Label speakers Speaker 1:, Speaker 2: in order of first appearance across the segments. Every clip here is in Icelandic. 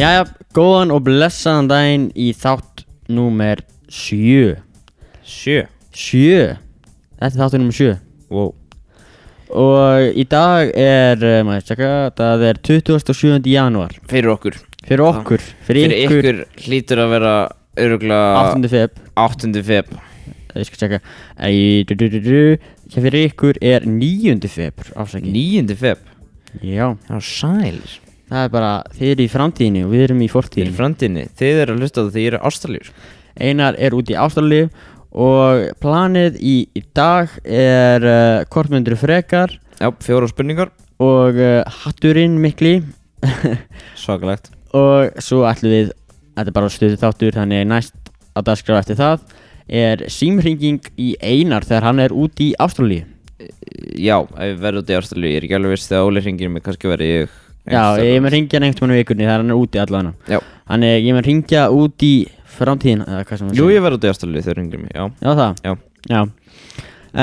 Speaker 1: Jæja, góðan og blessaðan daginn í þátt númer 7
Speaker 2: Sjö
Speaker 1: 7? Þetta er þáttur númer 7
Speaker 2: Wow
Speaker 1: Og í dag er, eh, maður tjekka, það er 27. janúar
Speaker 2: Fyrir okkur
Speaker 1: Fyrir okkur, fyrir,
Speaker 2: Fyrir
Speaker 1: ykkur,
Speaker 2: ykkur hlýtur að vera örugla
Speaker 1: 8. feb
Speaker 2: 8. feb
Speaker 1: Ég skal tjekka Æ, du, du, du, du. Hér fyrir ykkur er 9. feb, afsækki
Speaker 2: 9. feb
Speaker 1: Já,
Speaker 2: Já, sæl
Speaker 1: það er bara, þið eru í framtíðinni og við erum í
Speaker 2: Fyrir
Speaker 1: fortíðinni
Speaker 2: framtíðinni Þið eru að hlusta á það þegar ég er ástaljur
Speaker 1: Einar er úti í ástralíu og planið í, í dag er uh, kortmyndur frekar
Speaker 2: Já, fjóra spurningar
Speaker 1: og uh, hatturinn mikli
Speaker 2: Svakalegt
Speaker 1: og svo ætlum við þetta er bara stuðið þáttur þannig næst á dagskrá eftir það er símringing í Einar þegar hann er úti í Ástralíu
Speaker 2: Eh, Já, ef við verðum út í ástaljur Ég er ekki alveg viss þegar Óli hringir mig Kannski verði ég
Speaker 1: Já, ég
Speaker 2: einhvers staðar.
Speaker 1: mun ringja hann einhvern veginn í vikunni þegar hann er úti allan
Speaker 2: Já
Speaker 1: Þannig ég mun ringja út í framtíðin eða hvað sem hann
Speaker 2: Jú,
Speaker 1: segir.
Speaker 2: ég verði út í ástaljur þegar hringir mig Já
Speaker 1: Já það,
Speaker 2: Já
Speaker 1: já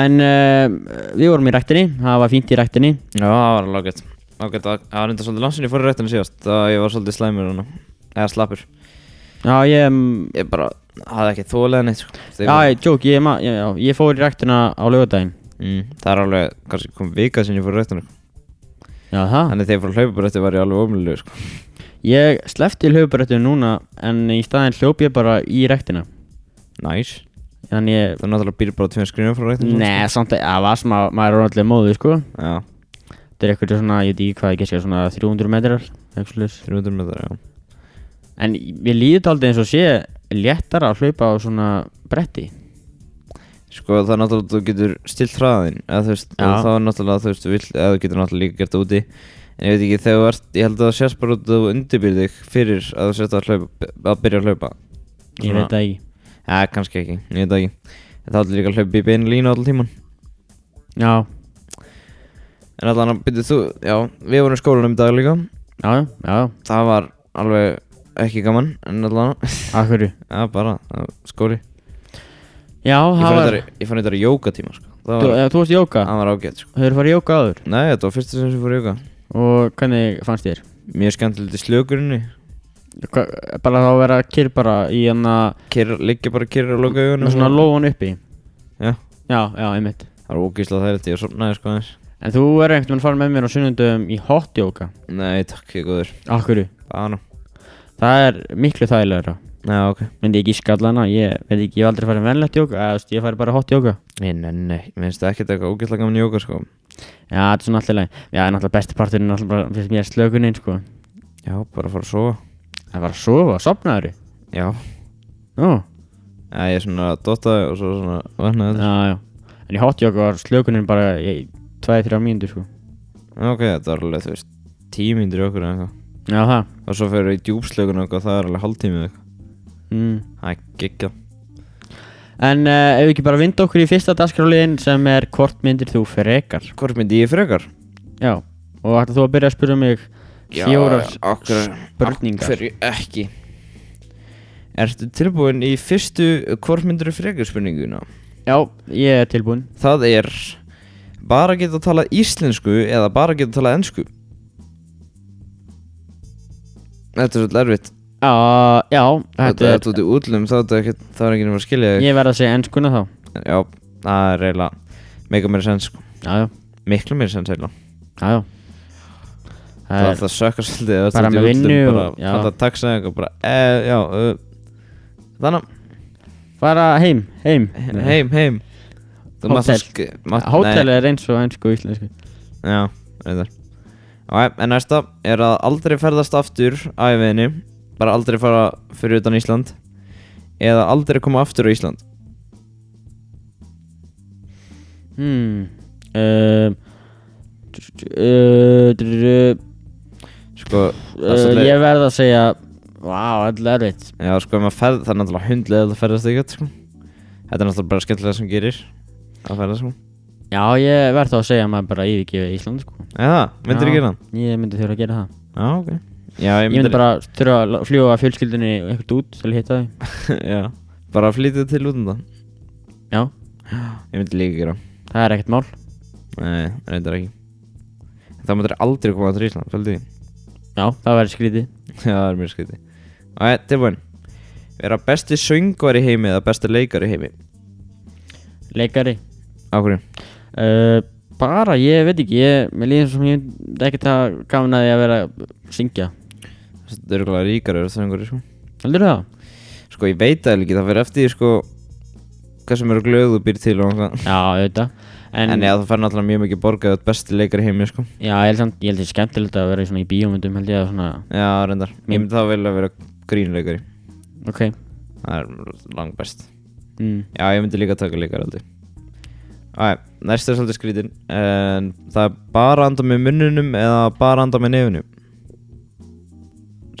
Speaker 1: En uh, við vorum í ræktinni, það var fínt í ræktinni
Speaker 2: Já, það var lagett Lagett, það það var enda svolítið lansinni fór í rættinu síðast Það ég var svolítið slæmur hana Eða slappur
Speaker 1: Já, ég, mm,
Speaker 2: Ég bara hafði ekki þólega neitt sko.
Speaker 1: já, ég, joke, ég, ma- já, já, ég fór í ræktina á lögadaginn
Speaker 2: mm, Það er alveg, kannski kom vika sinni fór í rættinu
Speaker 1: Já það
Speaker 2: Þannig þegar ég fór að hlaupa rætti var ég alveg ómjölu sko.
Speaker 1: Ég slefti hljóðbrættu núna en í staðinn hljóp ég bara í rektina
Speaker 2: Næs
Speaker 1: Þannig ég,
Speaker 2: Það er náttúrulega býr bara tveim skrýnum frá rættinu
Speaker 1: neða samt að það var sem að maður er allir móðu sko
Speaker 2: Já,
Speaker 1: Þetta er eitthvað svona, ég veit ekki hvað ég geskja, svona 300 metrar eitthvað svoleiðis.
Speaker 2: 300 metrar, já
Speaker 1: En ég líði þetta aldrei eins og sé léttara að hlaupa á svona bretti
Speaker 2: Sko það er náttúrulega þú getur stilt hraðin eða þú veist,
Speaker 1: Já.
Speaker 2: og þá er náttúrulega þú veist, vill, eða þú getur náttúrulega líka gert það úti en ég veit ekki þegar þú ert, ég held að það sést bara út að þú undirbýr þig fyrir að þú sért að, hlaupa, að byrja að hlaupa
Speaker 1: Ég veit það ekki
Speaker 2: Já, kannski ekki, ég veit það ekki En það er líka að hlaupa í beinu línu allan tíman
Speaker 1: Já,
Speaker 2: En allan að byrja þú, já, við vorum í skólanum í dag líka
Speaker 1: já, já, já,
Speaker 2: Það var alveg ekki gaman En allan að,
Speaker 1: að hverju
Speaker 2: já, bara, það var skóli
Speaker 1: Já,
Speaker 2: Ég
Speaker 1: það
Speaker 2: fann
Speaker 1: var,
Speaker 2: þetta, ég fann þetta jóka tíma, sko Það
Speaker 1: þú,
Speaker 2: var,
Speaker 1: eða, þú varst í jóka,
Speaker 2: það var ágætt, sko
Speaker 1: hefur farið í jóka áður
Speaker 2: Nei, þetta var fyrsta sem sem fór í jóka
Speaker 1: Og hvernig fannst þér?
Speaker 2: Mjög skemmtilegt í slökurinni
Speaker 1: Hva, bara þá að vera kyrr bara í hann að,
Speaker 2: Kyrra, liggja bara kyrra og loka augunum
Speaker 1: með svona lóan uppi
Speaker 2: Já,
Speaker 1: Já, já, einmitt
Speaker 2: það var ógísla það þetta, ég sopnaði sko aðeins
Speaker 1: En þú er einhvern veginn farin með mér á sunnundum í hot yoga
Speaker 2: Nei, takk, ég er góður
Speaker 1: Akkurru,
Speaker 2: Bana
Speaker 1: það er miklu þægilegra
Speaker 2: Já, ok
Speaker 1: Myndi ég gíska allan að ég veit ekki, ég hef aldrei farið vennlegt yoga eða, þú veist, Ég farið bara hot yoga
Speaker 2: Nei, nei, nei, mér finnst það ekkert eitthvað ógísla gaman í jóka, sko
Speaker 1: Já, þetta er svona alltaf leið Já, en náttúrulega besti parturinn er náttúrulega bara fyrst mér slökunin sko
Speaker 2: Já, bara fara að sofa
Speaker 1: Það var að sofa, sopnaður
Speaker 2: Já,
Speaker 1: Ó,
Speaker 2: Já, ég svona dottaði og svo svona vannaði
Speaker 1: já, já En í hot yoga var slökunin bara í 2-3 mínútur sko
Speaker 2: þetta Ok, þetta var alveg, þú veist, tíu mínútur í okkur eða eitthvað
Speaker 1: Já, það
Speaker 2: Og svo fyrir við í djúpslögun og eitthvað, það er alveg hálftími eða eitthvað
Speaker 1: mm.
Speaker 2: Það er gekkja
Speaker 1: En uh, ef við ekki bara vinda okkur í fyrsta dagskráliðin sem er hvort myndir þú frekar
Speaker 2: Hvort myndi ég frekar?
Speaker 1: Já, og ætla þú að byrja að spyrja mig fjórar spurningar.
Speaker 2: Fyrir ekki Ertu tilbúin í fyrstu hvort myndir þú frekar spurninguna?
Speaker 1: Já, ég er tilbúinn
Speaker 2: Það er bara geta að tala íslensku eða bara geta að tala ensku Þetta er svolítið erfitt
Speaker 1: Já, já, þetta
Speaker 2: Þetta er
Speaker 1: er,
Speaker 2: þú ert í útlum þá er þetta ekkert- þá er ekki nema að skilja þig
Speaker 1: ég verð að segja ennskuna þá
Speaker 2: Já, það er eiginlega Mega meira sens sko
Speaker 1: Já, já,
Speaker 2: Miklu meira sens eiginlega
Speaker 1: já, já
Speaker 2: Það
Speaker 1: Það
Speaker 2: er
Speaker 1: er,
Speaker 2: það sökkar svolítið ef þú
Speaker 1: Bara
Speaker 2: ert í
Speaker 1: með
Speaker 2: útlöndum,
Speaker 1: vinnu
Speaker 2: bara
Speaker 1: og- já.
Speaker 2: Panta taxa eða eitthvað bara e, Já uh, Þannig
Speaker 1: fara heim, heim
Speaker 2: Heim, heim Þú mátt
Speaker 1: Hótel.
Speaker 2: að sk- mátt-
Speaker 1: Hótel
Speaker 2: nei,
Speaker 1: er eins og ennsku og íslensku
Speaker 2: Já, reyndar Ok, en næsta er að aldrei ferðast aftur Æfiðinni Bara aldrei fara fyrir utan Ísland Eða aldrei koma aftur á Ísland
Speaker 1: Hmm um, uh, drr-
Speaker 2: Sko það er
Speaker 1: uh,
Speaker 2: svolítið-
Speaker 1: Ég verð að segja Vá, þetta er erfitt
Speaker 2: Já, sko, ef maður ferð, það er náttúrulega hundlega að það ferðast ekkert, sko. Þetta er náttúrulega bara skemmtilega sem gerir að ferðast, sko.
Speaker 1: Já, ég verð þá að segja að maður bara yfirgefi Ísland sko
Speaker 2: Eða,
Speaker 1: Já,
Speaker 2: myndir þú gera það?
Speaker 1: Ég myndi þurfa að gera það
Speaker 2: Já, ok. Já, ég
Speaker 1: Ég
Speaker 2: myndir...
Speaker 1: myndi bara þurfa að la- fljúga fjölskyldinni eitthvað út til að hitta þau
Speaker 2: já, bara flytja til út um það.
Speaker 1: Já,
Speaker 2: Ég myndi líka gera það.
Speaker 1: það er ekkert mál
Speaker 2: Nei, reyndar ekki Það máttir aldrei koma til Ísland, fölgdu því
Speaker 1: Já, það væri skrítið
Speaker 2: Já, það er mjög skriti Það er tilbúin Vera besti söngvar í heimi eða besti leikar í heimi
Speaker 1: Leikari
Speaker 2: Á hverju?
Speaker 1: uh, Bara, ég veit ekki Ég, mér líður sem ég myndi ekkert að gafna því að vera að syngja
Speaker 2: Það eru glæða ríkar eru söngvar sko.
Speaker 1: Heldur það?
Speaker 2: sko, ég veit það ekki, það fyrir eftir því, sko Hvað sem eru glöð þú býr til og hvað
Speaker 1: Já, auðvitað
Speaker 2: En,
Speaker 1: En,
Speaker 2: já, það fær náttúrulega mjög mikið borgað Besti leikar í heimi, sko
Speaker 1: já, ég held samt, ég held því skemmtilegt að vera í svona í bíómyndum held ég að svona
Speaker 2: Já, reyndar Ég myndi þá vilja vera grínleikari
Speaker 1: Ok
Speaker 2: Það er langbest
Speaker 1: mm.
Speaker 2: Já, ég myndi líka taka leikar aldrei Æ, næst er svolítið skrítin En það er bara anda með munnunum Eða bara anda með nefnum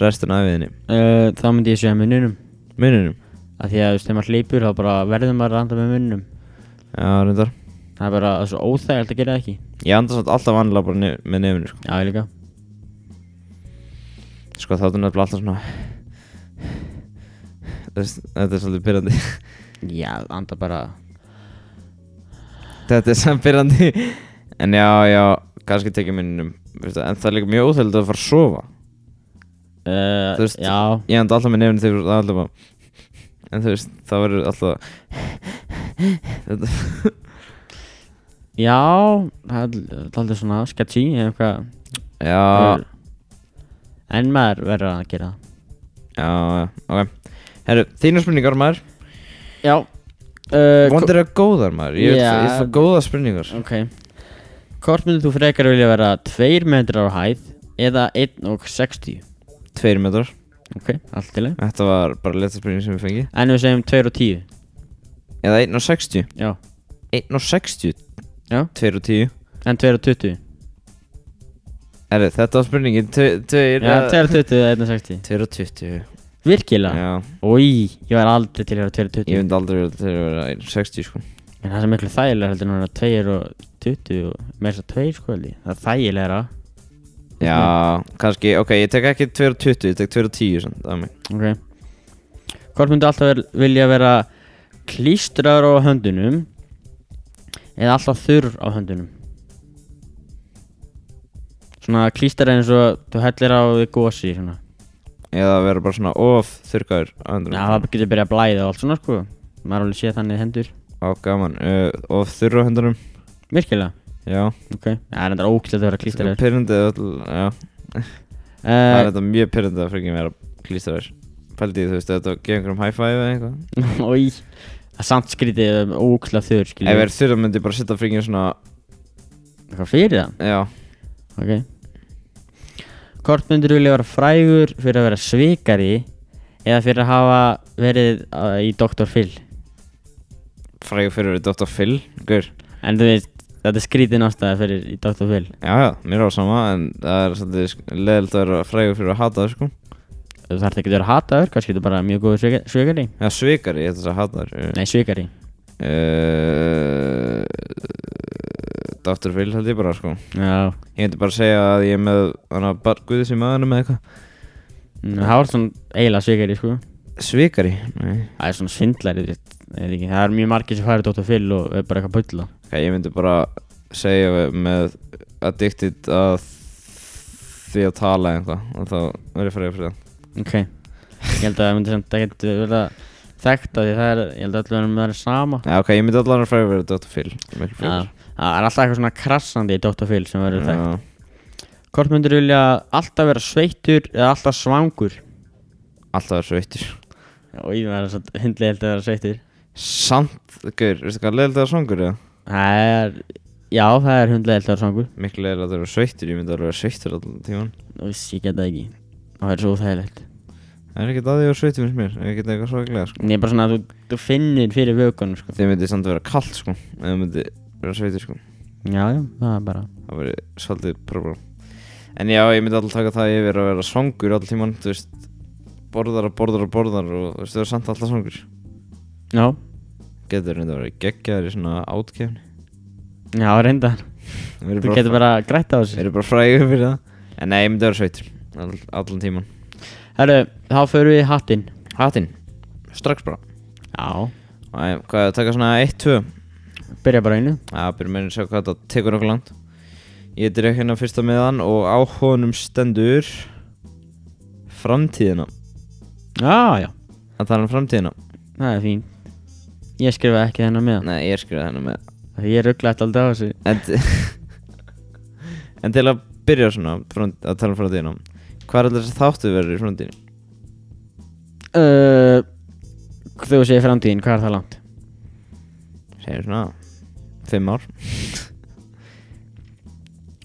Speaker 2: Restina af viðinni
Speaker 1: uh, Þá myndi ég segja mununum
Speaker 2: Munnunum
Speaker 1: Af því að þú veist, þegar maður hleypur þá bara verður maður að anda með mununum
Speaker 2: Já, reyndar
Speaker 1: Það er bara það er svo óþægilegt að gera það ekki
Speaker 2: Ég anda svolítið alltaf vanlega bara nef með nefnum sko.
Speaker 1: Já, ég líka
Speaker 2: sko, það er nefnilega alltaf svona Þú veist, Þetta er svolítið pyrrandi
Speaker 1: Já, anda bara
Speaker 2: Þetta er samt pyrrandi En já, já, kannski tekið munnunum veistu, En það er líka mjög óþægilegt að fara að sofa
Speaker 1: uh,
Speaker 2: Þú veist,
Speaker 1: Já,
Speaker 2: ég enda alltaf með nefnum þegar það er alltaf bara En þú veist, það verður alltaf Þetta
Speaker 1: já Það er það er aldrei svona sketchy eða eitthvað Mm.
Speaker 2: Já,
Speaker 1: En maður verður að gera það
Speaker 2: já, já, ok Herru, þínu spurningar maður
Speaker 1: Já uh,
Speaker 2: Vondir að góðar maður Ég
Speaker 1: Já.
Speaker 2: vil fá góða spurningar
Speaker 1: Ok Hvort myndir þú frekar vilja vera 2 metrar á hæð eða 1 og 60
Speaker 2: Tveir metrar
Speaker 1: Ok, allt til leið
Speaker 2: Þetta var bara leta spurning sem við fengi
Speaker 1: En við segjum 2 og 10
Speaker 2: Eða 1 og 60
Speaker 1: Já
Speaker 2: 1 og 60
Speaker 1: Já
Speaker 2: 2 og 10
Speaker 1: En 2 og 20
Speaker 2: Herru, þetta var spurningin 2
Speaker 1: Já, 2 og 20 eða 1 og 60
Speaker 2: 2 og 20
Speaker 1: Virkilega
Speaker 2: eh, Já,
Speaker 1: Új, ég var aldrei til að vera 2 og 20
Speaker 2: ég myndi aldrei vera 2 og vera 1 og 60 sko
Speaker 1: En það sem miklu þægilega heldur núna 2 og 20 og með þess að 2 sko held ég. Það er þægilegra
Speaker 2: Já, kannski, ok, ég tek ekki 2 og 20 Ég tek 2 og 10 svona, það er mig
Speaker 1: Ok Hvort myndi alltaf ver, vilja vera klístraður á höndunum eða alltaf þurr á höndunum Svona klístraður eins og þú hellir á því gósi svona
Speaker 2: eða vera bara svona of þurrkaður á
Speaker 1: Já,
Speaker 2: hendurum
Speaker 1: það getur byrjað að blæða og allt svona sko Maður alveg sé þannig hendur
Speaker 2: á gaman, uh, of þurr á hendurum
Speaker 1: Virkilega,
Speaker 2: já,
Speaker 1: ok Það er endur ógæslega að vera klístraður
Speaker 2: pyrrandi já, það er
Speaker 1: uh,
Speaker 2: þetta mjög pyrrandi að frekja vera klístraður pældi, þú veist, þetta gefa einhverjum high five eða eitthvað
Speaker 1: Í, það er samt skrítið ógæslega þurr
Speaker 2: ef
Speaker 1: skrítið
Speaker 2: ég verð þurr þá myndi ég bara setja frekja svona
Speaker 1: Eitthvað fyrir það?
Speaker 2: já,
Speaker 1: Ok Hvort myndir vilja vera frægur fyrir að vera svikari eða fyrir að hafa verið uh, í Dr. Phil
Speaker 2: frægur fyrir þetta átt á fyll gaur,
Speaker 1: En þú veist, þetta er skrítið nástaði fyrir í Dr. Phil
Speaker 2: já, já, mér á sama en það er svolítið leðilt að vera frægur fyrir að hata það, sko
Speaker 1: Þú þarf ekki að vera hataður, kannski þú bara mjög góður svika- svikari
Speaker 2: já, svikari, ég ætla þess að hata það
Speaker 1: Nei, svikari
Speaker 2: uh, Dr. Phil held ég bara, sko
Speaker 1: Já,
Speaker 2: Ég myndi bara að segja að ég er með hana barguðis í maðurum eða eitthvað
Speaker 1: Mm, það var svona eiginlega svikari sko
Speaker 2: Svikari? Nei
Speaker 1: Það er svona svindlari, þú veist, ég veit ekki Það er mjög margir sem færi Dr. Phil og er bara eitthvað bulla
Speaker 2: okay, Ég myndi bara segja með addicted að því að tala eða eitthvað og þá verður ég fræðið fyrir það
Speaker 1: Ok Ég held að það myndi samt ekkert vera þekkt að því það er, ég held að allir verðum að vera sama
Speaker 2: Já ok, ég myndi allan að fræðið fyrir Dr. Phil
Speaker 1: Já,
Speaker 2: Mikið fræðið
Speaker 1: það er alltaf eitthvað svona krassandi í Dr. Phil sem verður þekkt Hvort myndir vilja alltaf vera sveittur eða alltaf svangur?
Speaker 2: Alltaf er sveittur
Speaker 1: Já, og ég verður svo hundlega held að vera sveittur
Speaker 2: Samt, gaur, veistu hvað leiðilegt að það svangur eða?
Speaker 1: Það er, já það er hundlega held að vera svangur
Speaker 2: Mikið leiðilegt að það eru sveittur, ég myndi alveg að vera sveittur allan tíman
Speaker 1: og viss, ég get það ekki og það er svo úþægilegt
Speaker 2: Það er ekkert að því að vera sveittur finnst mér, ég get eitthvað svo sko
Speaker 1: En ég er bara svona að þú, þú finnir fyrir vökunum sko
Speaker 2: Þið myndi samt vera kalt sko, ef þið myndi vera sveittur sko
Speaker 1: Já, já, það er bara
Speaker 2: það verið svolítið problem en já, ég myndi alltaf taka það yfir að vera svangur all tíman, þú veist borðar og borðar og borðar og þú veist, það er samt alltaf svangur
Speaker 1: Já,
Speaker 2: getur reynda að vera geggjaður í svona átkefni
Speaker 1: já, reyndar Þú getur bara grætt á þessu
Speaker 2: verið bara frægur fyrir það en nei, ég myndi vera sveitur all, allan tíman
Speaker 1: Herru, þá förum við í hattinn
Speaker 2: hattinn, strax bara
Speaker 1: Já
Speaker 2: Æ, hvað, taka svona 1-2
Speaker 1: byrja bara einu
Speaker 2: Já, byrjum við að sjá hvað þetta tekur okkur langt Ég dreg hérna fyrsta meðan og á honum stendur Framtíðina
Speaker 1: Já, já,
Speaker 2: Það tala um framtíðina
Speaker 1: það er fín Ég skrifa ekki þennan með
Speaker 2: Nei, ég skrifaði hennar með
Speaker 1: Nei. Ég rugglaði alltaf á þessu
Speaker 2: En, en til að byrja svona front, að tala um framtíðina Hvað er alltaf þáttu verður í framtíðinu?
Speaker 1: uh, Þú segir framtíðin, hvað er það langt?
Speaker 2: Segir svona Fimm ár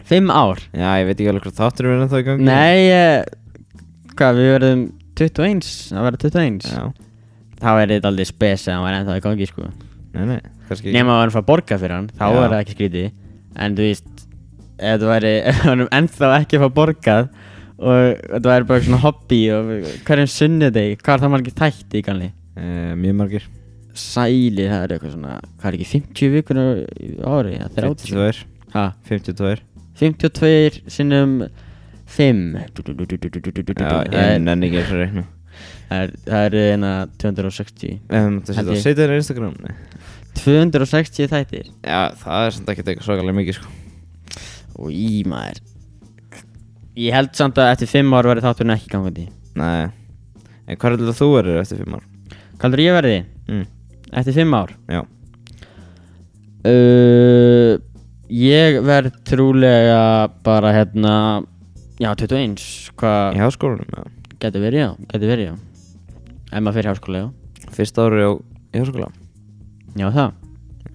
Speaker 1: Fimm ár?
Speaker 2: Já, ég veit ekki alveg hvað þáttur verður ennþá í gangi
Speaker 1: Nei, uh, hvað, við verðum 21, það verður 21
Speaker 2: Já,
Speaker 1: Þá er þetta aldrei spes að hann var ennþá í gangi sko
Speaker 2: nei, nei, kannski
Speaker 1: Nefn að hann fara að borga fyrir hann, þá
Speaker 2: Já.
Speaker 1: er það ekki skrítið En þú veist, ef þú væri, ef hann ennþá ekki að fá borgað Og þetta væri bara svona hobby og hverjum sunnudegi, hvað er það margir tætt í ganli?
Speaker 2: Eh, Mjög margir
Speaker 1: Sæli, það er eitthvað svona, hvað er ekki, 50 vikur á á ári? Það er 80
Speaker 2: 52
Speaker 1: Ha,
Speaker 2: 52
Speaker 1: 52 sinnum 5
Speaker 2: Já,
Speaker 1: Það
Speaker 2: ég
Speaker 1: er,
Speaker 2: nenni ekki þessu reikna
Speaker 1: það er, það er hérna 260
Speaker 2: Um,
Speaker 1: Held ég.
Speaker 2: það setja á setja þér á Instagram Nei.
Speaker 1: 260 þættir
Speaker 2: Já, það er samt ekki tekið svakalega mikið sko
Speaker 1: og í maður Ég held samt að eftir 5 ár verði þátturinn ekki gangandi
Speaker 2: Nei En hvað er þetta þú verður eftir fimm ár?
Speaker 1: Kaldur ég verði
Speaker 2: Mm.
Speaker 1: eftir 5 ár
Speaker 2: Já,
Speaker 1: uh, Ég verð trúlega bara hérna Já, 21
Speaker 2: í
Speaker 1: Hvað
Speaker 2: háskólanum já.
Speaker 1: getur verið já, getur verið já Ef maður fyrir háskóla já
Speaker 2: Fyrsta ári á í háskóla
Speaker 1: Já það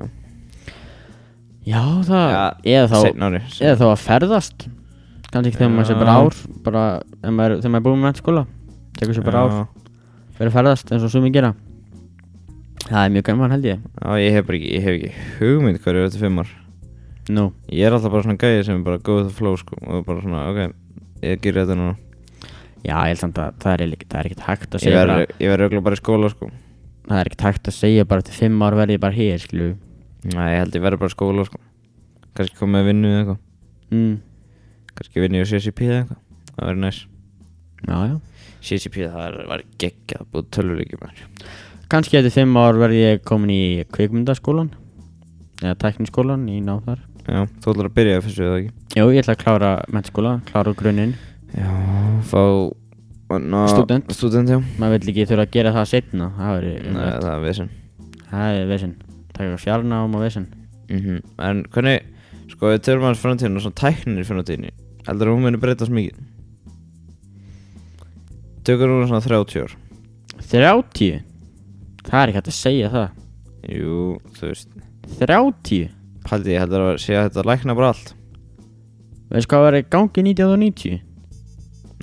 Speaker 2: Já.
Speaker 1: Já það
Speaker 2: Já,
Speaker 1: Eða þá
Speaker 2: Seinna ári
Speaker 1: Eða þá að ferðast Kannski ekki þegar maður sé bara
Speaker 2: Já.
Speaker 1: ár Bara ef maður, Þegar maður er búinn með mennskóla Tekur sér bara ár
Speaker 2: Já.
Speaker 1: Fyrir að ferðast eins og sumi gera Það er mjög gaman held ég
Speaker 2: Já, ég hef bara ekki, ég hef ekki hugmynd hvað er eftir fimm ár
Speaker 1: Nú
Speaker 2: Ég er alltaf bara svona gæði sem er bara go with the flow sko Og bara svona, ok, ég gerir þetta núna
Speaker 1: Já ég held samt að það er, eiginlega ekki- það er ekkert hægt að
Speaker 2: Ég
Speaker 1: segja bara,
Speaker 2: verður auðvitað bara í skóla sko
Speaker 1: Það er ekkert hægt að segja bara Til fimm ár verði ég bara hér skilju
Speaker 2: Nei, ég held ég verður bara í skóla sko Kannski komið að vinnu eða eitthvað
Speaker 1: mm.
Speaker 2: Kannski vinnu í CCP eða eitthvað Það verður næs
Speaker 1: Já já
Speaker 2: CCP það er- var geggjað Búið tölvuleikir maður
Speaker 1: Kannski eftir fimm ár verði ég komin í kvikmyndaskólan Eða tækniskólan í náð þar
Speaker 2: Já, þú ætlar að byrja fyrst við það ekki
Speaker 1: Jú ég ætla að klára mennskóla Klára úr grunninn
Speaker 2: Já, fá na,
Speaker 1: Stúdent.
Speaker 2: Student, já
Speaker 1: maður vill ekki þurfa að gera það setna það er,
Speaker 2: Nei, það er vesen
Speaker 1: það er vesinn taka fjarnám og vesinn
Speaker 2: mm En hvernig, sko, við tölum hans framtíðinu Svona tæknir í framtíðinu Heldur að hún muni breytast mikið? Tökur hún svona 30 ár
Speaker 1: 30 það er ekki hægt að segja það
Speaker 2: Jú, þú veist
Speaker 1: 30
Speaker 2: Paldi, ég heldur að sé að þetta lækna bara allt
Speaker 1: veist hvað var í gangi 1990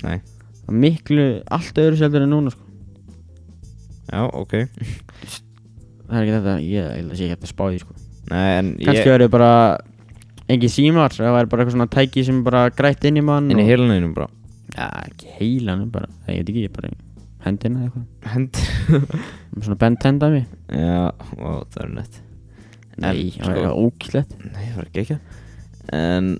Speaker 2: Nei,
Speaker 1: Það er miklu allt öðru seldur en núna sko.
Speaker 2: já, ok
Speaker 1: það er ekki þetta ég held að sé ekki hægt að spá því sko.
Speaker 2: Nei, en
Speaker 1: kannski
Speaker 2: ég
Speaker 1: verður bara engin símar það var bara eitthvað svona tæki sem bara grætt inn í mann
Speaker 2: En í
Speaker 1: og-
Speaker 2: heiluninu bara
Speaker 1: ja, ekki heilanum bara það ég veit ekki ég bara hendina eða eitthvað
Speaker 2: Hend
Speaker 1: svona bent henda mig
Speaker 2: Já, ó, það er nett En,
Speaker 1: nei, það var
Speaker 2: sko-
Speaker 1: eitthvað ókýrlegt
Speaker 2: Nei, það var ekki ekki En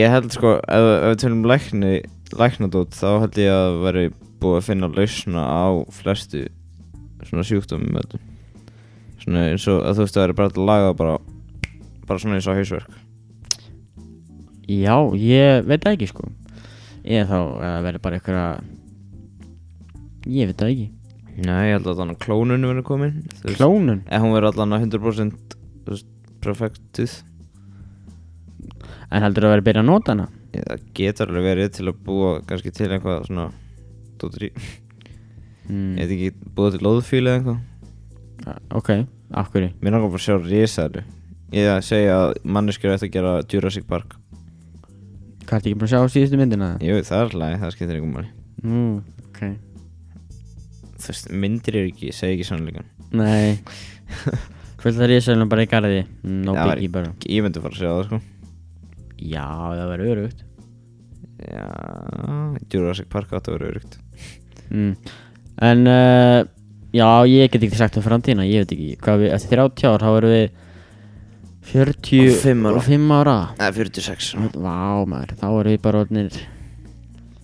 Speaker 2: ég held sko Ef, ef við tölum lækni Læknadót þá held ég að veri Búið að finna lausna á flestu Svona sjúkdómum öllum. Svona eins og að þú veist að það er bara hægt að laga bara Bara svona eins og hausverk
Speaker 1: Já, ég veit það ekki sko Eða þá að það verður bara einhverja Ég veit það ekki
Speaker 2: Nei, ég held að þannig klónun verið komin þú veist.
Speaker 1: Klónun
Speaker 2: En hún verið allan að 100% þú veist, Perfectuð
Speaker 1: En heldur það að verður að byrja að nota hana
Speaker 2: Ég- Það getur alveg verið til að búa Kannski til eitthvað svona Dóttir í Ég veit
Speaker 1: mm.
Speaker 2: ekki búið til loðfíli eða eitthvað
Speaker 1: Ah, Ok, af hverju
Speaker 2: Mér langar bara að sjá risaðlu Ég að segja að manneskjur ætti að gera Jurassic Park
Speaker 1: Hvað ertu ekki búin að sjá síðustu myndina það?
Speaker 2: Jú, það er hlæg, það skiptir ykkur máli
Speaker 1: Nú, ok
Speaker 2: Þú veist, myndir eru ekki, segja ekki sannleikan
Speaker 1: Nei Fullt það risaðlum bara í garði Hmm, No
Speaker 2: Það væri-
Speaker 1: biggie bara
Speaker 2: Ég myndi fara að segja það, sko
Speaker 1: Já, það verður örugt
Speaker 2: Já, Jurassic Park átti að vera örugt
Speaker 1: mm. En uh, Já, ég get ekki sagt um framtíðina Ég veit ekki Hvað við, eftir 30 ár Þá verðum við 40
Speaker 2: Og fimm ára.
Speaker 1: og fimm ára
Speaker 2: Nei, 46
Speaker 1: Vá maður, þá erum við bara orðinir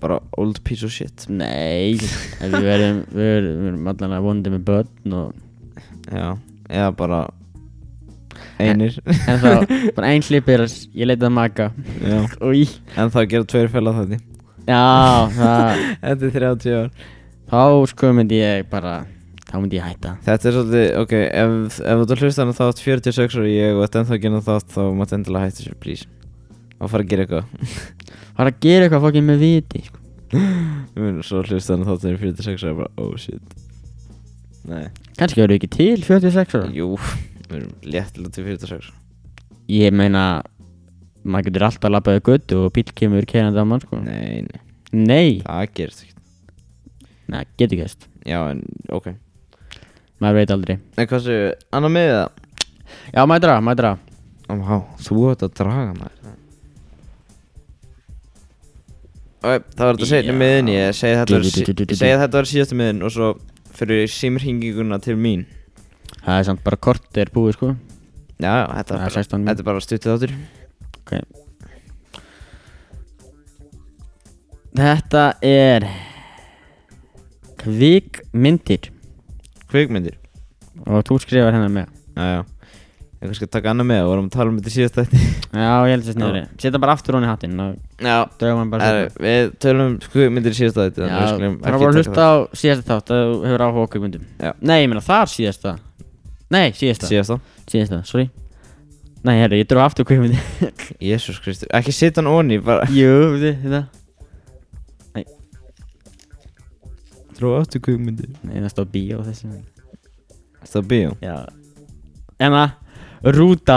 Speaker 2: Bara old piece of shit
Speaker 1: Nei, en við verðum Við verðum- við verðum allan að vondi með börn og
Speaker 2: Já, eða bara einir
Speaker 1: En þá, bara ein hlipir Ég leitaði að maka
Speaker 2: Já.
Speaker 1: Új
Speaker 2: En það gera tveir fæla þetta
Speaker 1: Já, það
Speaker 2: Þetta er 30 ár
Speaker 1: Þá sko myndi ég bara Þá myndi ég hætta
Speaker 2: Þetta er svolítið, ok, ef, ef þú hlustar hann þátt 46 ára ég og þetta ennþá gerir þátt þá mátt endilega hætti sér, please og fara að gera eitthvað
Speaker 1: Fara að gera eitthvað fokkin með viti sko.
Speaker 2: Ég mun svo hlustar hann þátt þegar ég er 46 ára bara, oh shit Nei,
Speaker 1: Kannski verður ekki til 46 ára
Speaker 2: jú, við erum léttilega til 46
Speaker 1: Ég meina Maður getur alltaf labbaðið götu og bíl kemur keirandi á mann sko
Speaker 2: Nei, nei,
Speaker 1: Nei,
Speaker 2: það gerist ekki
Speaker 1: Nei getur gæst
Speaker 2: Já, en, ok
Speaker 1: Maður veit aldrei
Speaker 2: En hvað séu, annar með það?
Speaker 1: Já, maður draga, maður draga
Speaker 2: Ómá, þú ert að draga maður Ok, það var þetta
Speaker 1: Já.
Speaker 2: setni miðin, ég segi þetta var, sí-
Speaker 1: Du-du-du-du-du-du.
Speaker 2: ég segi að þetta var síðasta miðin og svo fyrir símringinguna til mín
Speaker 1: Það er samt bara kort er búið sko
Speaker 2: Já, já, þetta
Speaker 1: Það
Speaker 2: var
Speaker 1: er 16
Speaker 2: bara,
Speaker 1: mín.
Speaker 2: þetta er bara stuttið áttur
Speaker 1: okay. Þetta er Kvikmyndir
Speaker 2: Kvikmyndir
Speaker 1: Og þú skrifar hennar með
Speaker 2: Já, já Ég kannski að taka annað með, vorum að tala um þetta í síðasta þetta
Speaker 1: Já, ég held þessi niður Seta bara aftur hún í hattinn og
Speaker 2: Já,
Speaker 1: Drögum hann bara
Speaker 2: er, við tölum um kvikmyndir í síðasta þetta
Speaker 1: Já, það er bara að hlusta á síðasta þátt að þú hefur áhuga á kvikmyndum
Speaker 2: Já.
Speaker 1: Nei, ég meina þar síðasta Nei, síðasta,
Speaker 2: Síðasta
Speaker 1: síðasta, sorry Nei, herru, ég dró aftur kvikmyndi
Speaker 2: Jésús Kristur, ekki setja hann onni, bara
Speaker 1: Jú, hérna. veitu, þetta
Speaker 2: Trú áttu kvikmyndir
Speaker 1: Nei, það stóð bíó þessi
Speaker 2: Þetta er bíó
Speaker 1: Já Enna, rúta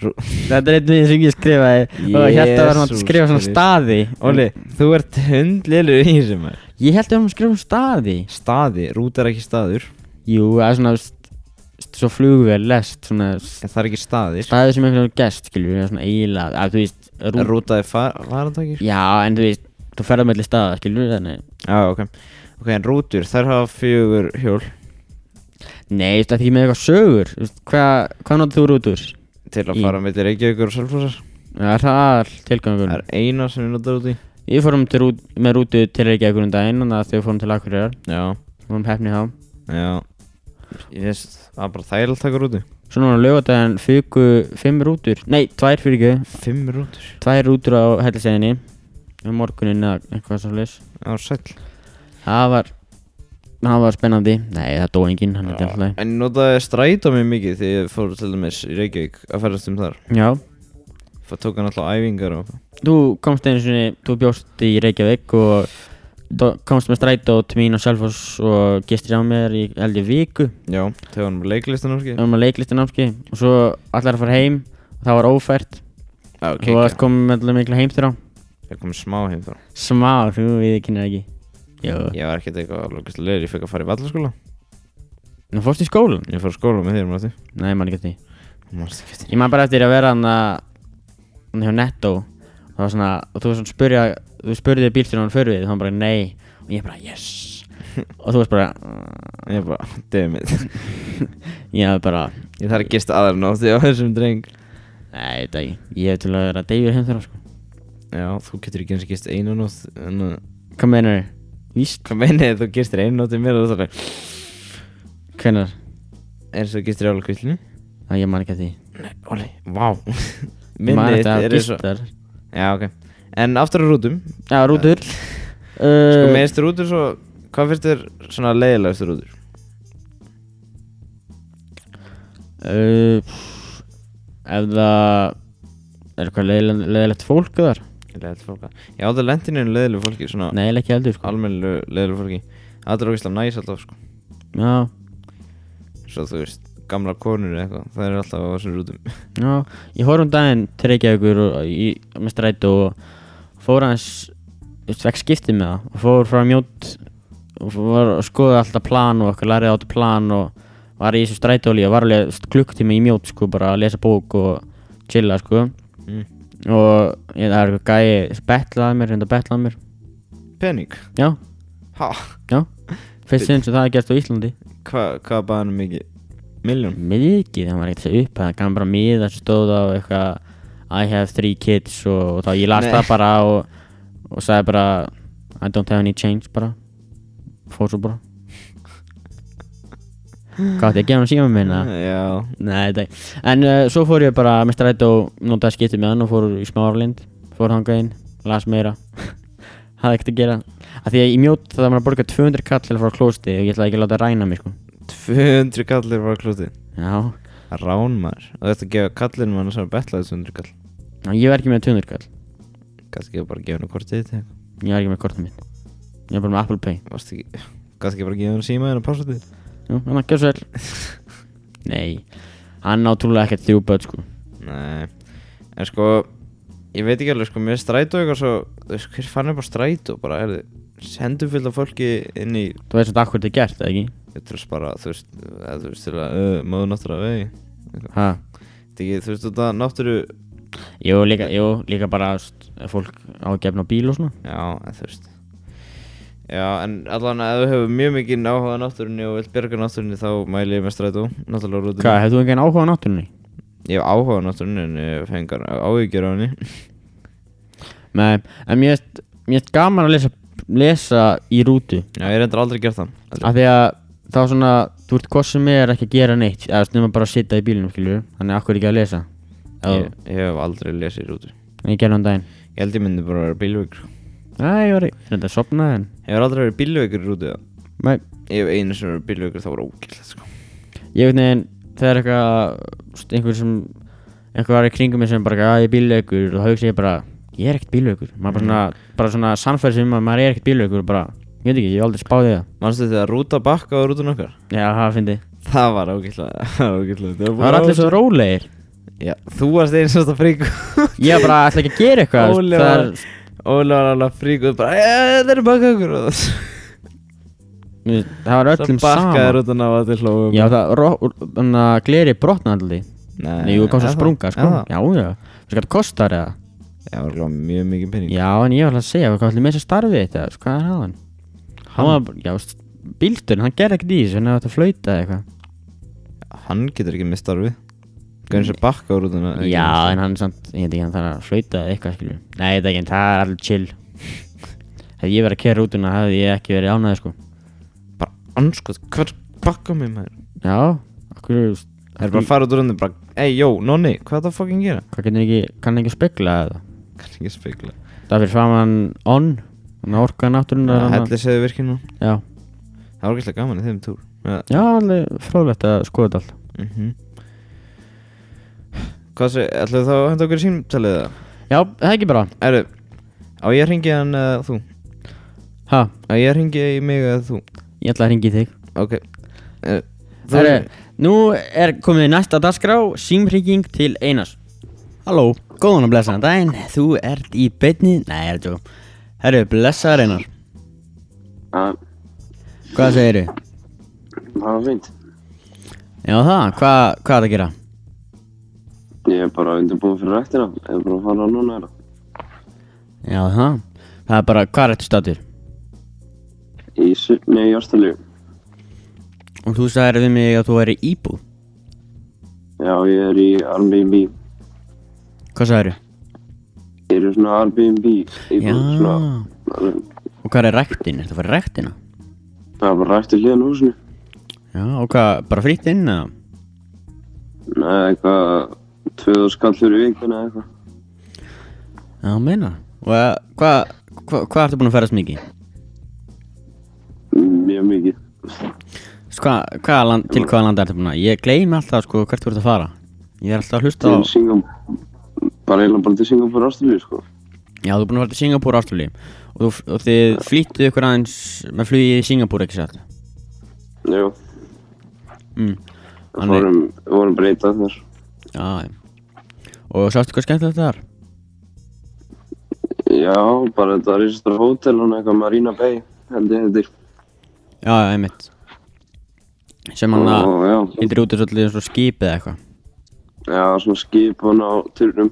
Speaker 2: Rú-
Speaker 1: Þetta er einn við sem ég skrifaði Og ég held að vera hann að
Speaker 2: Jesús
Speaker 1: skrifa svona
Speaker 2: Kristur.
Speaker 1: staði
Speaker 2: Óli, þú ert hundlilur í þessu maður
Speaker 1: Ég held að vera hann að skrifa svona staði
Speaker 2: Staði, rút er ekki staður
Speaker 1: Jú, það er svona st- st- Svo flugvel, lest, svona
Speaker 2: En það er ekki staðir
Speaker 1: Staði sem einhvern veginn gest, skilur við Svona eiginlega, að þú veist
Speaker 2: En
Speaker 1: rú-
Speaker 2: Rúta er varantakir
Speaker 1: Já, en þú veist, þú ferðar mellir staða, skilur við þannig
Speaker 2: Já, ok Ok, en rútur, þær hafa fjögur hjól
Speaker 1: Nei, þetta er ekki með eitthvað sögur Þú veist, Hvað hva notar þú rútur?
Speaker 2: Til að
Speaker 1: Í.
Speaker 2: fara með til Reykjavíkur og Selfossar
Speaker 1: Það er það all tilgangur
Speaker 2: Það er eina sem við notar út í
Speaker 1: Við fórum til rút, með rútu til Reykjavíkur um daginn Þannig að þau fórum til Akureyrar
Speaker 2: Já,
Speaker 1: Fórum hefni þá
Speaker 2: já Ég veist, það er bara þægilegt að taka rútu
Speaker 1: Svo núna lögadaginn fyrku fimm rútur Nei, tvær fyrir ekki
Speaker 2: Fimm rútur
Speaker 1: Tvær rútur á helliseginni Um morguninn eða eitthvað svo leis
Speaker 2: Já, sæll
Speaker 1: Það var Það var spennandi Nei, það dó enginn, hann er
Speaker 2: Já,
Speaker 1: dæmtlaði
Speaker 2: En ég notaði stræta mig mikið þegar ég fór til dæmis í Reykjavík að ferðast um þar
Speaker 1: Já
Speaker 2: Það tók hann alltaf æfingar og
Speaker 1: Þú komst einu sinni, þú bjóst í Reykjavík og dó- komst með strætó til mín og Selfoss og gistir á mér í held ég viku
Speaker 2: Já, þegar hann var leiklistan orkið
Speaker 1: um að leiklistin ámski og svo allar að fara heim og það var ófært
Speaker 2: Já,
Speaker 1: og þú varst
Speaker 2: ok,
Speaker 1: komið með allir mikla heimstur á
Speaker 2: ég kom smá heim þá
Speaker 1: smá, þú við kynir ekki Jó,
Speaker 2: Ég var ekkert eitthvað lókist leir, ég fekk að fara í vallaskóla
Speaker 1: nú fórst í skólan?
Speaker 2: Ég fór að skóla með þér, mati
Speaker 1: Nei, maður ekki eftir því
Speaker 2: Mástu ekki
Speaker 1: Ég maður bara eftir að vera hann að hann hjá Netto og það var svona, og þú var svona spurja þú spurði bílstjóðan hann fyrir við og hann bara nei og ég bara yes og þú varst bara "Ah."
Speaker 2: Ég bara, damn it
Speaker 1: ég hafði bara
Speaker 2: Ég þarf að gista aðra nótti á þessum dreng
Speaker 1: Nei, þetta ekki. Ég hef til að vera deyfur heim þar, sko.
Speaker 2: Já, þú getur ekki eins og gist einu nótt en, uh,
Speaker 1: Hvað meinar þér? Víst?
Speaker 2: Hvað meinið þið, þú gistir einu nótt í mér og það er
Speaker 1: Hvenær?
Speaker 2: eins og gistir í álkvillinu
Speaker 1: Það ég man ekki að því.
Speaker 2: Nei, Óli, vá
Speaker 1: Man
Speaker 2: Minnið
Speaker 1: eftir
Speaker 2: þitt
Speaker 1: að
Speaker 2: er eins og
Speaker 1: gistar.
Speaker 2: Já, ok En aftur á rútum
Speaker 1: Já, rútur.
Speaker 2: Sko,
Speaker 1: Uh,
Speaker 2: meðist rútur svo Hvað finnst þér svona leiðilegast rútur?
Speaker 1: uh, pff, ef það... Er eitthvað leiðile- leiðilegt fólk þar?
Speaker 2: Leiðilegt fólk að- Já, það lendir nefnir leiðilegu fólki Svona
Speaker 1: Nei, eiginlega ekki heldur, sko.
Speaker 2: almennilegu leiðilegu fólki Það er ógislega næs alltaf, sko
Speaker 1: Já,
Speaker 2: Svo þú veist, gamla konur eða eitthvað Það er alltaf á þessum rútum
Speaker 1: já. Ég horf um daginn til Reykjavíkur og í, með strætó og fór hans, þú veist, vekk skiptið með það og fór frá mjótt og fór og skoði alltaf plan og okkur lærið áttu plan og var í þessu strætóli og var alveg þú veist, klukkutíma í mjótt, sko, bara að lesa bók og chilla, sko.
Speaker 2: mm.
Speaker 1: Og ég, það er eitthvað gæi, betlaði mér, reynda betlaði mér.
Speaker 2: Pening
Speaker 1: Já,
Speaker 2: Ha,
Speaker 1: já. Fyrst sinn sem það er gert á Íslandi.
Speaker 2: hvað hva baði hann um mikið? Miljón?
Speaker 1: mikið, hann var ekkert að segja upp hann gaf bara miða sem stóð á eitthvað I have three kids og, og þá ég las
Speaker 2: Nei.
Speaker 1: það bara og, og sagði bara I don't have any change bara fór svo bara Hvað átti ég að um gefa hann síma minna?
Speaker 2: Já,
Speaker 1: Nei, þetta En uh, svo fór ég bara með strætó Notaði skiptið með hann og fór í smáralind Fór þangað inn, las meira Hafði ekkert að gera Af því að í mjót það var að borga 200 kall til að fara á klósti Og ég ætlaði ekki að láta ræna mig sko
Speaker 2: 200 kallir var klúti
Speaker 1: Já,
Speaker 2: Rán maður Og þetta gefa kallinu mann sem betlaði 200 kall
Speaker 1: Ná, ég var ekki með 200 kall
Speaker 2: Kannski ekki bara að gefa henni kortið þitt eða eitthvað.
Speaker 1: Ég var ekki með kortum mitt Ég var bara með Apple Pay
Speaker 2: Varstu ekki Kannski ekki bara að gefa henni síma henni passatið
Speaker 1: Jú, hann að gjösa vel Nei, hann átúrulega ekkert þrjú börn sko
Speaker 2: Nei En sko Ég veit ekki alveg sko Mér er strætó eitthvað svo Þú veist hver fann upp á strætó Bara er þið Sendum fyllt af fólki inn í
Speaker 1: Þú veist þetta akkur þetta er gert, eða ekki?
Speaker 2: Þú veist bara Þú veist eða, Þú veist til að uh, Móðu náttúrulega vegi Eitthvað.
Speaker 1: Ha?
Speaker 2: Þetta ekki, Þú veist þetta náttúru
Speaker 1: Jú, líka, jú, líka bara st, fólk á að gefna á bíl og svona
Speaker 2: Já en þú veist Já en allan ef þú hefur mjög mikið áhuga á náttúrunni og vilt bjarga náttúrunni þá mæli ég með strætó Náttúrulega rútum
Speaker 1: Hvað, hefðu þú engan áhuga á náttúrunni?
Speaker 2: Ég hef áhuga á náttúrunni en ég fengar áhyggjur á henni
Speaker 1: Nei, en mér finnst- mér finnst gaman að lesa, lesa í rútu
Speaker 2: Já ég reyndar aldrei gert þann
Speaker 1: Af því að þá svona, þú ert hvað sem er ekki að gera neitt Eða snum að bara að sitja í bílunum, skilur Þannig akkur ekki að lesa
Speaker 2: ég,
Speaker 1: Já,
Speaker 2: ég hef aldrei lesið rútu
Speaker 1: en ég gerði hann daginn
Speaker 2: Ég held ég myndi bara að vera bílveikur
Speaker 1: Nei, ég var ekki, þetta er sopnað en
Speaker 2: Ég hef aldrei verið bílveikur í rútu eða?
Speaker 1: Nei,
Speaker 2: Ég hef einu sem verið bílveikur þá var ógæðlega sko
Speaker 1: ég veit neginn þegar eitthvað st- einhver sem einhver var í kringum mig sem bara að ég er bílaugur og þá hugsa ég bara ég er ekkert bílaugur maður bara
Speaker 2: Mm.
Speaker 1: svona, bara svona sannfæri sem að maður er ekkert bílaugur og bara ég veit ekki ég hef aldrei spáði það
Speaker 2: Manstu þetta að rúta bakka á rútun okkar?
Speaker 1: já það fyndi
Speaker 2: Það var ógæðlega Það
Speaker 1: það var allir svo rólegir
Speaker 2: Já, þú varst eins og þetta frík
Speaker 1: ég var bara ætla ekki að gera eitthvað
Speaker 2: Óli
Speaker 1: það
Speaker 2: var
Speaker 1: er
Speaker 2: Óli var alveg frík og bara "Eh, Það eru bakka okkur og
Speaker 1: þú veist, það var öllum
Speaker 2: Svo bakkaði
Speaker 1: saman
Speaker 2: rútun á að til hlóðum
Speaker 1: já það ro- þannig að gleri brotna allir
Speaker 2: Nei,
Speaker 1: Nei, jú, komst að
Speaker 2: er það?
Speaker 1: sprunga, sko
Speaker 2: Er það?
Speaker 1: Já, já, þú veist hvað það kostar eða
Speaker 2: Það var alveg mjög mikið pening
Speaker 1: Já, en ég var alltaf að segja, hvað ætli með þess að starfi þetta, sko, hvað er hann? Hann var, bara- já, veist, bílturinn, hann gerði ekkert í þessu, hann hefði átt að flauta eða eitthvað.
Speaker 2: Hann getur ekki mist starfið Gauðin sem bakka á rútun
Speaker 1: Já, en hann samt, ég veit ekki, hann þarf að flauta eða eitthvað, skilju. Nei, þetta ekki, en það er alveg chill. Hefði ég verið að kera út hérna, hefði ég ekki verið ánæðið, sko.
Speaker 2: Bara anskot Hvað sko, bakka mig maður?
Speaker 1: Já, okkur, veist,
Speaker 2: Það er bara að fara út úr hundin bara Ey, jó, nonni, hvað er það að fucking gera?
Speaker 1: hvað getur ekki, kann ekki að spegla eða?
Speaker 2: Kann ekki spegla
Speaker 1: Það fyrir framann on, hann orkaði náttúrulega.
Speaker 2: Hellir segði virkið nú
Speaker 1: Já,
Speaker 2: Það var gæslega gaman í þeim túr ja.
Speaker 1: já, alveg fróðlegt að skoða þetta allt.
Speaker 2: mm Hvað sé, ætlaðu þá að henda okkur í símtalið það?
Speaker 1: Já, það er ekki bara,
Speaker 2: Erðu, á ég að ringi hann eða þú?
Speaker 1: ha,
Speaker 2: Á ég að ringi í mig eða þú?
Speaker 1: ég ætla að ringi í þig.
Speaker 2: Ok Eh, þú-
Speaker 1: Herre, nú er komið næsta dagskrá, símhrygging til Einars Halló, góðan og blessaðan daginn, þú ert í beinni, nei, er þetta jó Herru, blessaðar Einar,
Speaker 3: Já,
Speaker 1: hvað segir þau?
Speaker 3: það var fint.
Speaker 1: Já það, hvað, hvað er að gera?
Speaker 3: Ég er bara undirbúin fyrir rættina. Ég er bara að fara núna hérna.
Speaker 1: Já það, það er bara, hvað er þetta statur?
Speaker 3: Í Sydney í Jórnstalíu.
Speaker 1: Og þú sagðir við mig að þú væri íbúð,
Speaker 3: Já, ég er í Airbnb.
Speaker 1: hvað sagðir þau?
Speaker 3: Ég er í svona Airbnb. Ég
Speaker 1: Já,
Speaker 3: er svona... alveg-
Speaker 1: og hvað er rektin, ertu að fara í rektina?
Speaker 3: Það er bara rætt í hliðan á húsinu.
Speaker 1: Já, og hvað, bara frýtt inn eða?
Speaker 3: Nei, eitthvað... Tvöðu skall fyrir vikuna eða eitthvað.
Speaker 1: Já, meina, og eh, hvað, hvað, hvað ertu búin að ferðast mikið?
Speaker 3: Mjög mikið.
Speaker 1: Hva, hva land, til Sko, hvaða landa ertu búin að? Ég gleymi alltaf sko hvert þú ert að fara Ég er alltaf að hlusta á
Speaker 3: Til Singapur. Bara eiginlega bara til Singapur Ástralíu, sko.
Speaker 1: Já, þú er búin að fara til Singapúr ástulíu og, þú- og þið flýttuð ykkur aðeins með flugi í Singapúr ekki satt
Speaker 3: Jú.
Speaker 1: mm.
Speaker 3: Við
Speaker 1: Þannig-
Speaker 3: fórum, við vorum breytað þar.
Speaker 1: Já, já Og sástu hvað skemmtilegt það er?
Speaker 3: Já, bara þetta er í svona hótel og eitthvað Marina Bay. Held ég heitir.
Speaker 1: Já, já, einmitt Sem hann að
Speaker 3: Og já,
Speaker 1: lítur út eins og eins og skipið eða eitthvað
Speaker 3: Já, svona skipan á turnum.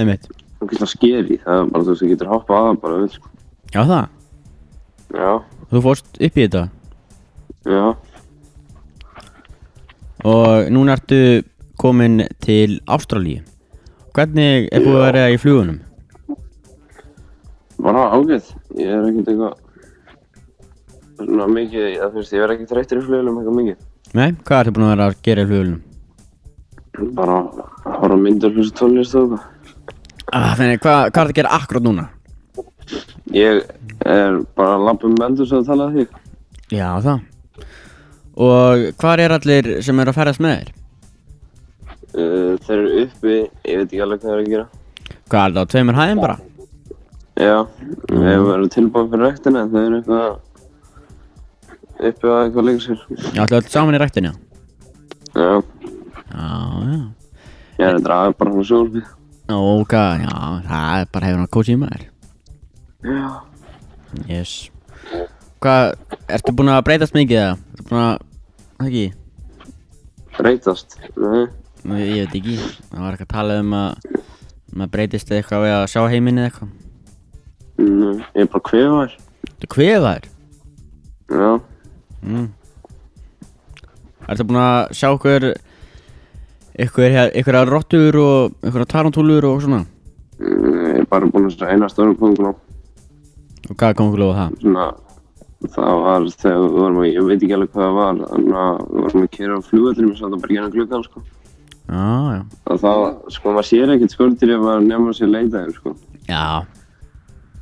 Speaker 1: Einmitt
Speaker 3: Það getur skeri, það er bara þú veist, það getur hoppað aða bara vel. sko.
Speaker 1: Já, það
Speaker 3: Já,
Speaker 1: Þú fórst upp í þetta
Speaker 3: já,
Speaker 1: Og núna ertu komin til Ástralíu Hvernig er búið að vera í flugunum?
Speaker 3: bara ágæð. Ég er ekkert eitthvað, svona mikið, það finnst ég verð ekki þreyttur í flugilum eitthvað mikið.
Speaker 1: Nei, hvað ertu búin að vera að gera í flugulunum?
Speaker 3: Bara að horfa á myndir og hlusta tónlist og eitthvað.
Speaker 1: Ah, þannig, hvað, hvað ertu að gera akkurat núna?
Speaker 3: Ég er bara að lampa um endur sem að tala því.
Speaker 1: Já, það Og hvað er allir sem eru að ferðast með þér?
Speaker 3: Uh, þeir eru uppi, ég veit ekki alveg hvað þeir eru að gera.
Speaker 1: Hvað er það á tveimur hæðum bara?
Speaker 3: Já, við hefum verið tilbúin fyrir rektina en þau eru eitthvað uppi að eitthvað leika sér.
Speaker 1: Já, allir allir saman í rættinu
Speaker 3: Já,
Speaker 1: Já, já
Speaker 3: ég er að draga bara frá sjólfið.
Speaker 1: Ok, já, það er bara hefur hann að kósi í maður
Speaker 3: Já.
Speaker 1: Yes Hvað, ertu búin að breytast mikið eða? Ertu búin að, það ekki?
Speaker 3: Breytast. Nei.
Speaker 1: Nú, Ég veit ekki, það var eitthvað að tala um að maður breytist eitthvað við að sjá heiminn eða eitthvað
Speaker 3: Nei, Ég er bara kvefaður.
Speaker 1: Þú kvefaður?
Speaker 3: Já.
Speaker 1: Mm. Ertu búin að sjá okkur ykkur, hér- ykkur að rottur og ykkur að tarantúlur og svona?
Speaker 3: Mm, Ég er bara búin að segja eina stórum kongulum.
Speaker 1: Og hvað kom okkur lóða það?
Speaker 3: Svona, það var þegar við vorum að, ég veit ekki alveg hvað það var, þannig að við vorum að kera á flugöldrum og satt að bara gera gluggan, sko.
Speaker 1: Já, já
Speaker 3: Og þá, sko, maður sér ekkert skortir ef maður nefnir sér leita þeim, sko.
Speaker 1: Já,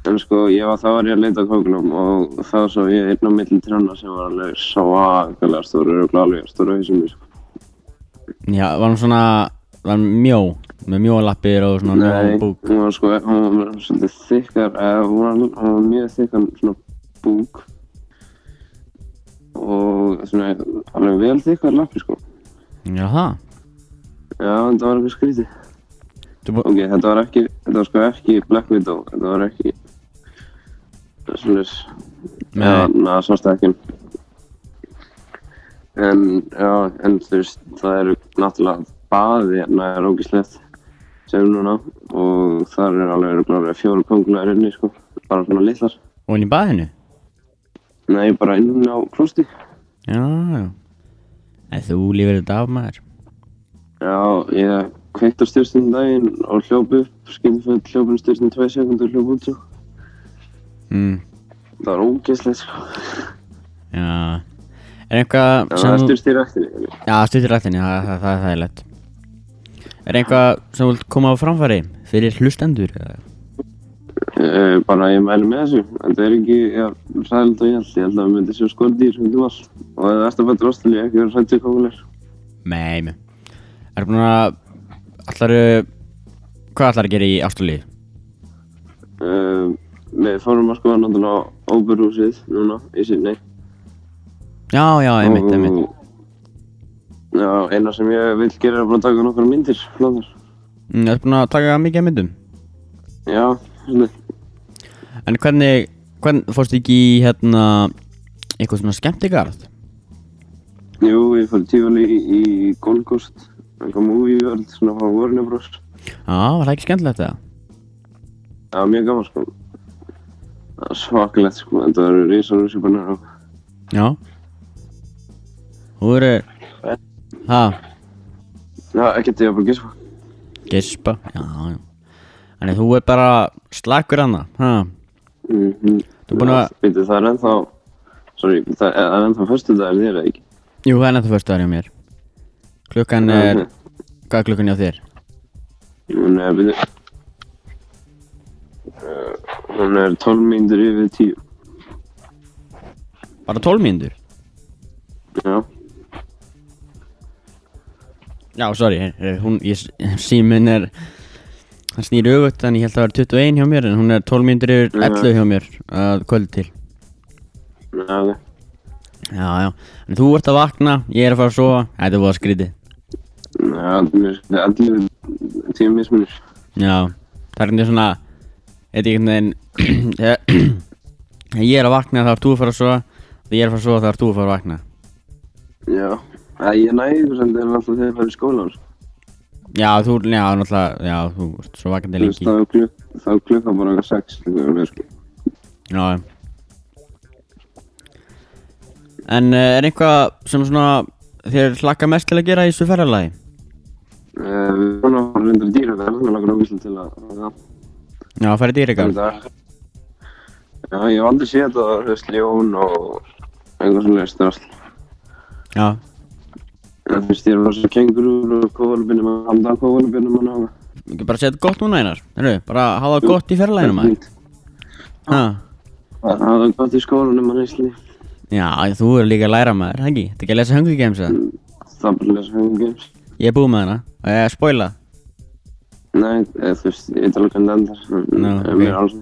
Speaker 3: En sko, ég var þá var ég að leita að kongulum og þá svo ég einn á milli trjána sem var alveg svakalega stóru og glalvega stóru hausum, sko.
Speaker 1: já, var hann svona, var hann mjó með mjólappir og svona
Speaker 3: Nei,
Speaker 1: mjóan búk
Speaker 3: hún var sko, hún var svolítið þykkar, eða hún var, hún var mjög þykkan svona búk og svona alveg vel þykkar lappi sko.
Speaker 1: Já, það
Speaker 3: Já, þetta var eitthvað skrítið.
Speaker 1: Þú bú-
Speaker 3: Ok, þetta var ekki, þetta var sko ekki Black Widow, þetta var ekki svolítið,
Speaker 1: Nei.
Speaker 3: já, na, sást ekki. En, já, en þú veist, það eru náttúrulega baði hérna er ógislegt sem núna og þar er alveg örugglega fjóru kongulegar inni, sko, bara svona litlar.
Speaker 1: Og inn í baðinu?
Speaker 3: Nei, bara inn á klosti.
Speaker 1: Já, já En þú lífir þetta af maður
Speaker 3: Já, ég kveikt á styrstinn daginn og hljóp upp, skynði fyrir hljópun styrstinn 2 sekundur og hljóp út svo.
Speaker 1: mm,
Speaker 3: Það var ógeðslegt sko.
Speaker 1: Já Er eitthvað
Speaker 3: Já,
Speaker 1: sem
Speaker 3: Það er
Speaker 1: þú-
Speaker 3: styrst í rættinni.
Speaker 1: Já, stuttir rættinni, það, það, það, það er lett Er eitthvað sem þú vilt koma á framfæri fyrir hlustendur? eða?
Speaker 3: Eh, Bara ég mæli með þessu. Þetta er ekki ræðilegt og ég held. Ég held að við myndum sjá skordýr út um allt. Og ef það erst að fættur ástæðli, ekki verið hrættið kókulegur.
Speaker 1: Nei, nei Er búin að Allaru Hvað allar að gera í ástúlið?
Speaker 3: Uh, við fórum að skoða náttúrulega óberúsið núna í sinni.
Speaker 1: Já, já, einmitt, einmitt
Speaker 3: Já, eina sem ég vil gera er bara að taka nokkra myndir. Flóðar.
Speaker 1: Mm, Ertu búin að taka mikið af myndum?
Speaker 3: Já, svona.
Speaker 1: En hvernig, hvernig fórstu ekki í hérna eitthvað svona skemmtigarð?
Speaker 3: Jú, ég fór tífali í, í Gold Coast. Eitthvað movie world, svona frá Warner Bros.
Speaker 1: Já, var það ekki skemmtilegt það?
Speaker 3: Það var mjög gaman sko. Það var svakalegt sko. Þetta eru risa rússipanir og
Speaker 1: Já Þú eru Ha,
Speaker 3: Já, sko. ekkert ég að bara gispa.
Speaker 1: gispa Já, já Þannig þú er bara slakur hana Ha,
Speaker 3: Mm -hmm.
Speaker 1: Þú búinn að-
Speaker 3: Býtu, það er ennþá... Sorry, það er það er ennþá fyrstu dagar þér, eða ekki?
Speaker 1: jú, það er nættu fyrstu hjá mér Klukkan er Hvað er klukkan hjá þér?
Speaker 3: Hún er, býtu... Eh, Hún er 12 mínútur yfir 10.
Speaker 1: Bara 12 mínútur?
Speaker 3: Já.
Speaker 1: Já, sorry, her- her- hún, ég, eh, síminn er Hann snýr öfugt, þannig ég held að það var 21 hjá mér En hún er 12 mínútur yfir 11 hjá mér Að kvöld til
Speaker 3: Já, ok.
Speaker 1: Já, já, en þú ert að vakna, ég er að fara að sofa Þetta var skrítið
Speaker 3: Já, það er allir tíma mismunir.
Speaker 1: Já, það er einhvern svona Þetta er einhvern veginn Þegar ég er að vakna þá ert þú að fara að sofa Þegar ég er að fara að sofa þá ert þú að fara að vakna
Speaker 3: Já. Það ég næði ykkur sem þetta er alltaf þegar ég fer í skólan, sko.
Speaker 1: Já, þú, já, náttúrulega, já, þú ert svo vakandi
Speaker 3: Þú veist,
Speaker 1: lengi
Speaker 3: þá er klukk- þá er klukkan bara eitthvað 6, líka, sko.
Speaker 1: Já já. En eh, er eitthvað sem svona Þér hlakka mest til að gera í þessu ferðalagi?
Speaker 3: Eh, Við erum að fara reyndar í dýra, það er alveg langar ákvæmst til að...
Speaker 1: Já, að fara í dýrikar
Speaker 3: Þetta- Já, ég hef aldrei séð þetta, þú veist, ljón og eitthvað svona leist drasl.
Speaker 1: Já,
Speaker 3: Það finnst ég að vera svo kengurur og kóvalubinum að halda kóvalubinum að náða.
Speaker 1: Ekki bara setja gott núna einar Heru, bara hafa það gott í fjarlæðinu maður ha.
Speaker 3: Það er aðeins gott í skólanum að neyslunni.
Speaker 1: Já, þú er líka að læra maður, er það ekki? Þetta ekki að lesa Hungry Games eða?
Speaker 3: Það er bara lesa Hunger Games.
Speaker 1: Ég er búið með hana Eh, og ég er að spoila
Speaker 3: Nei, eða, þú veist, ég tala ekki um þetta endar.
Speaker 1: Nú, ok.
Speaker 3: Mér er alls.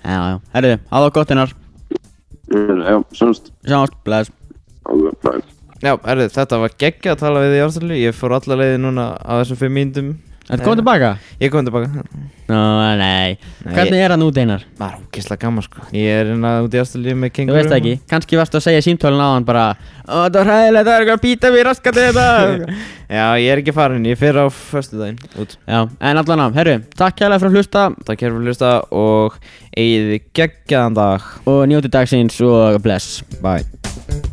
Speaker 1: Já, já, herru, hafa það gott einar
Speaker 3: Já, sjónst.
Speaker 1: Sjáumst, bless
Speaker 3: Ok, bye.
Speaker 2: Já, erðu, þetta var geggja að tala við í ástæðlu Ég fór alla leiði núna á þessum fimm mínutum
Speaker 1: Þetta komið tilbaka?
Speaker 2: Ég kom tilbaka
Speaker 1: Nó, nei
Speaker 2: Nei,
Speaker 1: Hvernig er hann út einar?
Speaker 2: Það er ógeðslega gaman sko Ég er hérna út í ástæðlu með
Speaker 1: Þú
Speaker 2: kengur
Speaker 1: veist það ekki, kannski varstu að segja í símtölun á hann bara Ó, það var hræðilegt, það er eitthvað að býta mér raskat þetta
Speaker 2: Já, ég er ekki farin, ég fer á föstu daginn út
Speaker 1: Já, en allan á, herru, takk hérlega fyrir að hlusta
Speaker 2: Takk hér fyrir að hlusta og eigið geggjaðan dag
Speaker 1: og njóti dagsins og bless
Speaker 2: Bye